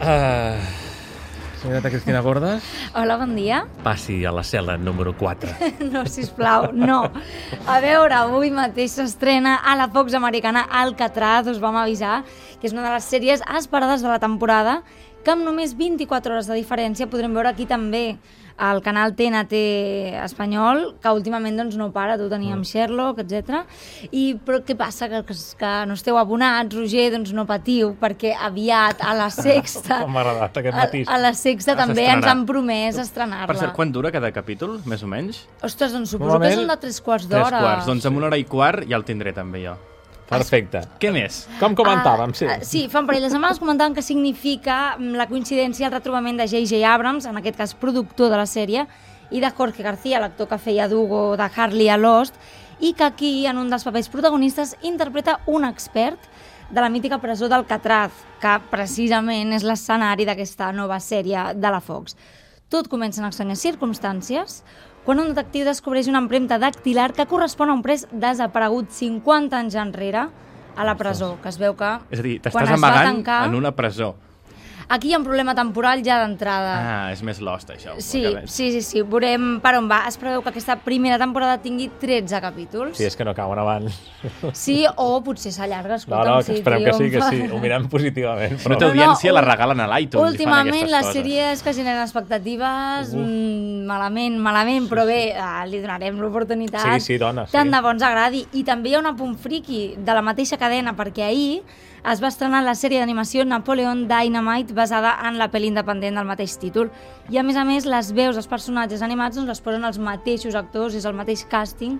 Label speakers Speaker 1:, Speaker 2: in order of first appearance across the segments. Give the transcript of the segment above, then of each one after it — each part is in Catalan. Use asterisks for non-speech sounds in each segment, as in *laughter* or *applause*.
Speaker 1: Ah, senyoreta Cristina Gordes,
Speaker 2: Hola, bon dia. *laughs*
Speaker 1: passi a la cel·la número 4.
Speaker 2: No, sisplau, no. A veure, avui mateix s'estrena a la Fox americana Alcatraz, us vam avisar, que és una de les sèries esperades de la temporada, que amb només 24 hores de diferència podrem veure aquí també al canal TNT espanyol, que últimament doncs, no para, tu teníem
Speaker 1: Mm.
Speaker 2: Sherlock, etc. I però què passa? Que, que, que no esteu abonats, Roger, doncs no patiu, perquè aviat a
Speaker 1: *laughs*
Speaker 2: la sexta...
Speaker 1: Com m'ha agradat aquest
Speaker 2: a,
Speaker 1: matís.
Speaker 2: a la sexta
Speaker 3: Ah,
Speaker 2: també ens
Speaker 3: s'estrenarà.
Speaker 2: han promès estrenar-la.
Speaker 3: Per cert, quan dura cada capítol, més o menys?
Speaker 2: Ostres, doncs suposo que
Speaker 1: Normalment,
Speaker 2: són de tres quarts
Speaker 3: Tres
Speaker 2: d'hora.
Speaker 3: quarts. Doncs amb una hora i quart ja el tindré també jo.
Speaker 1: *laughs* Perfecte.
Speaker 3: Què més?
Speaker 1: Com comentàvem, sí.
Speaker 2: Ah, ah, sí, fa un parell de setmanes comentàvem que significa mm, la coincidència el retrobament de J.J. Abrams, en aquest cas productor de la sèrie, i de Jorge García, l'actor que feia Dugo de Harley a Lost, i que aquí, en un dels papers protagonistes, interpreta un expert de la mítica presó d'Alcatraz, que precisament és l'escenari d'aquesta nova sèrie de la Fox. Tot comença en estranyes circumstàncies, quan un detectiu descobreix una empremta dactilar que correspon a un pres desaparegut 50 anys enrere a la presó, que es veu que
Speaker 3: És a dir,
Speaker 2: quan
Speaker 3: t'estàs
Speaker 2: es va
Speaker 3: amagant
Speaker 2: tancar...
Speaker 3: en una presó.
Speaker 2: Aquí hi ha un problema temporal ja d'entrada.
Speaker 3: Ah, és més lost, això.
Speaker 2: Sí,
Speaker 3: Acabem.
Speaker 2: sí, sí, sí, veurem per on va. Es preveu que aquesta primera temporada tingui 13 capítols.
Speaker 1: Sí, és que no cauen abans.
Speaker 2: sí o potser s'allarga,
Speaker 1: No,
Speaker 2: escolta'm,
Speaker 1: no, que
Speaker 2: si
Speaker 1: esperem que sí, que
Speaker 2: triomfa.
Speaker 1: sí. Ho mirem positivament.
Speaker 3: Però
Speaker 1: Però...
Speaker 2: No, no,
Speaker 3: audiència la
Speaker 2: ul-
Speaker 3: regalen a l'iTunes. i fan
Speaker 2: Últimament
Speaker 3: aquestes
Speaker 2: les
Speaker 3: coses.
Speaker 2: sèries que generen expectatives, mm, malament, malament, però bé, eh, li donarem l'oportunitat.
Speaker 1: Sí, sí, dona, sí.
Speaker 2: Tant de bons agradi. I també hi ha un punt friqui de la mateixa cadena, perquè ahir es va estrenar la sèrie d'animació Napoleon Dynamite, basada en la pel·li independent del mateix títol. I a més a més, les veus dels personatges animats doncs, les posen els mateixos actors, és el mateix càsting,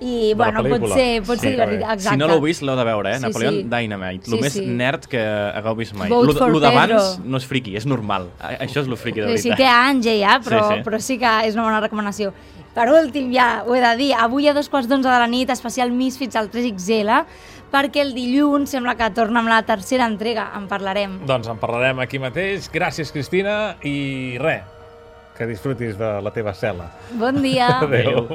Speaker 2: i,
Speaker 1: la
Speaker 2: bueno, pot
Speaker 1: pel·lícula.
Speaker 2: ser, pot
Speaker 1: Sí,
Speaker 2: ser
Speaker 1: que
Speaker 2: divertit.
Speaker 1: bé.
Speaker 2: Exacte.
Speaker 3: Si no l'heu vist, l'heu de veure, eh?
Speaker 2: Sí,
Speaker 3: Sí, Napoleon
Speaker 2: sí.
Speaker 3: Dynamite.
Speaker 2: Sí,
Speaker 3: el més
Speaker 2: sí.
Speaker 3: nerd que hagueu vist mai.
Speaker 2: Vote
Speaker 3: Lo-
Speaker 2: for
Speaker 3: lo d'abans
Speaker 2: Pedro.
Speaker 3: no és friqui, és normal. A- Això és lo friqui, de veritat.
Speaker 2: Sí que anys ja, però
Speaker 3: Sí,
Speaker 2: sí,
Speaker 3: sí.
Speaker 2: sí. però sí que és una bona recomanació. Per últim, ja ho he de dir, avui a dos quarts d'onze de la nit, especial Misfits al 3XL, perquè el dilluns sembla que torna amb la tercera entrega, en parlarem.
Speaker 1: Doncs en parlarem aquí mateix. Gràcies, Cristina, i res, que disfrutis de la teva cel·la.
Speaker 2: Bon dia!
Speaker 1: Adéu.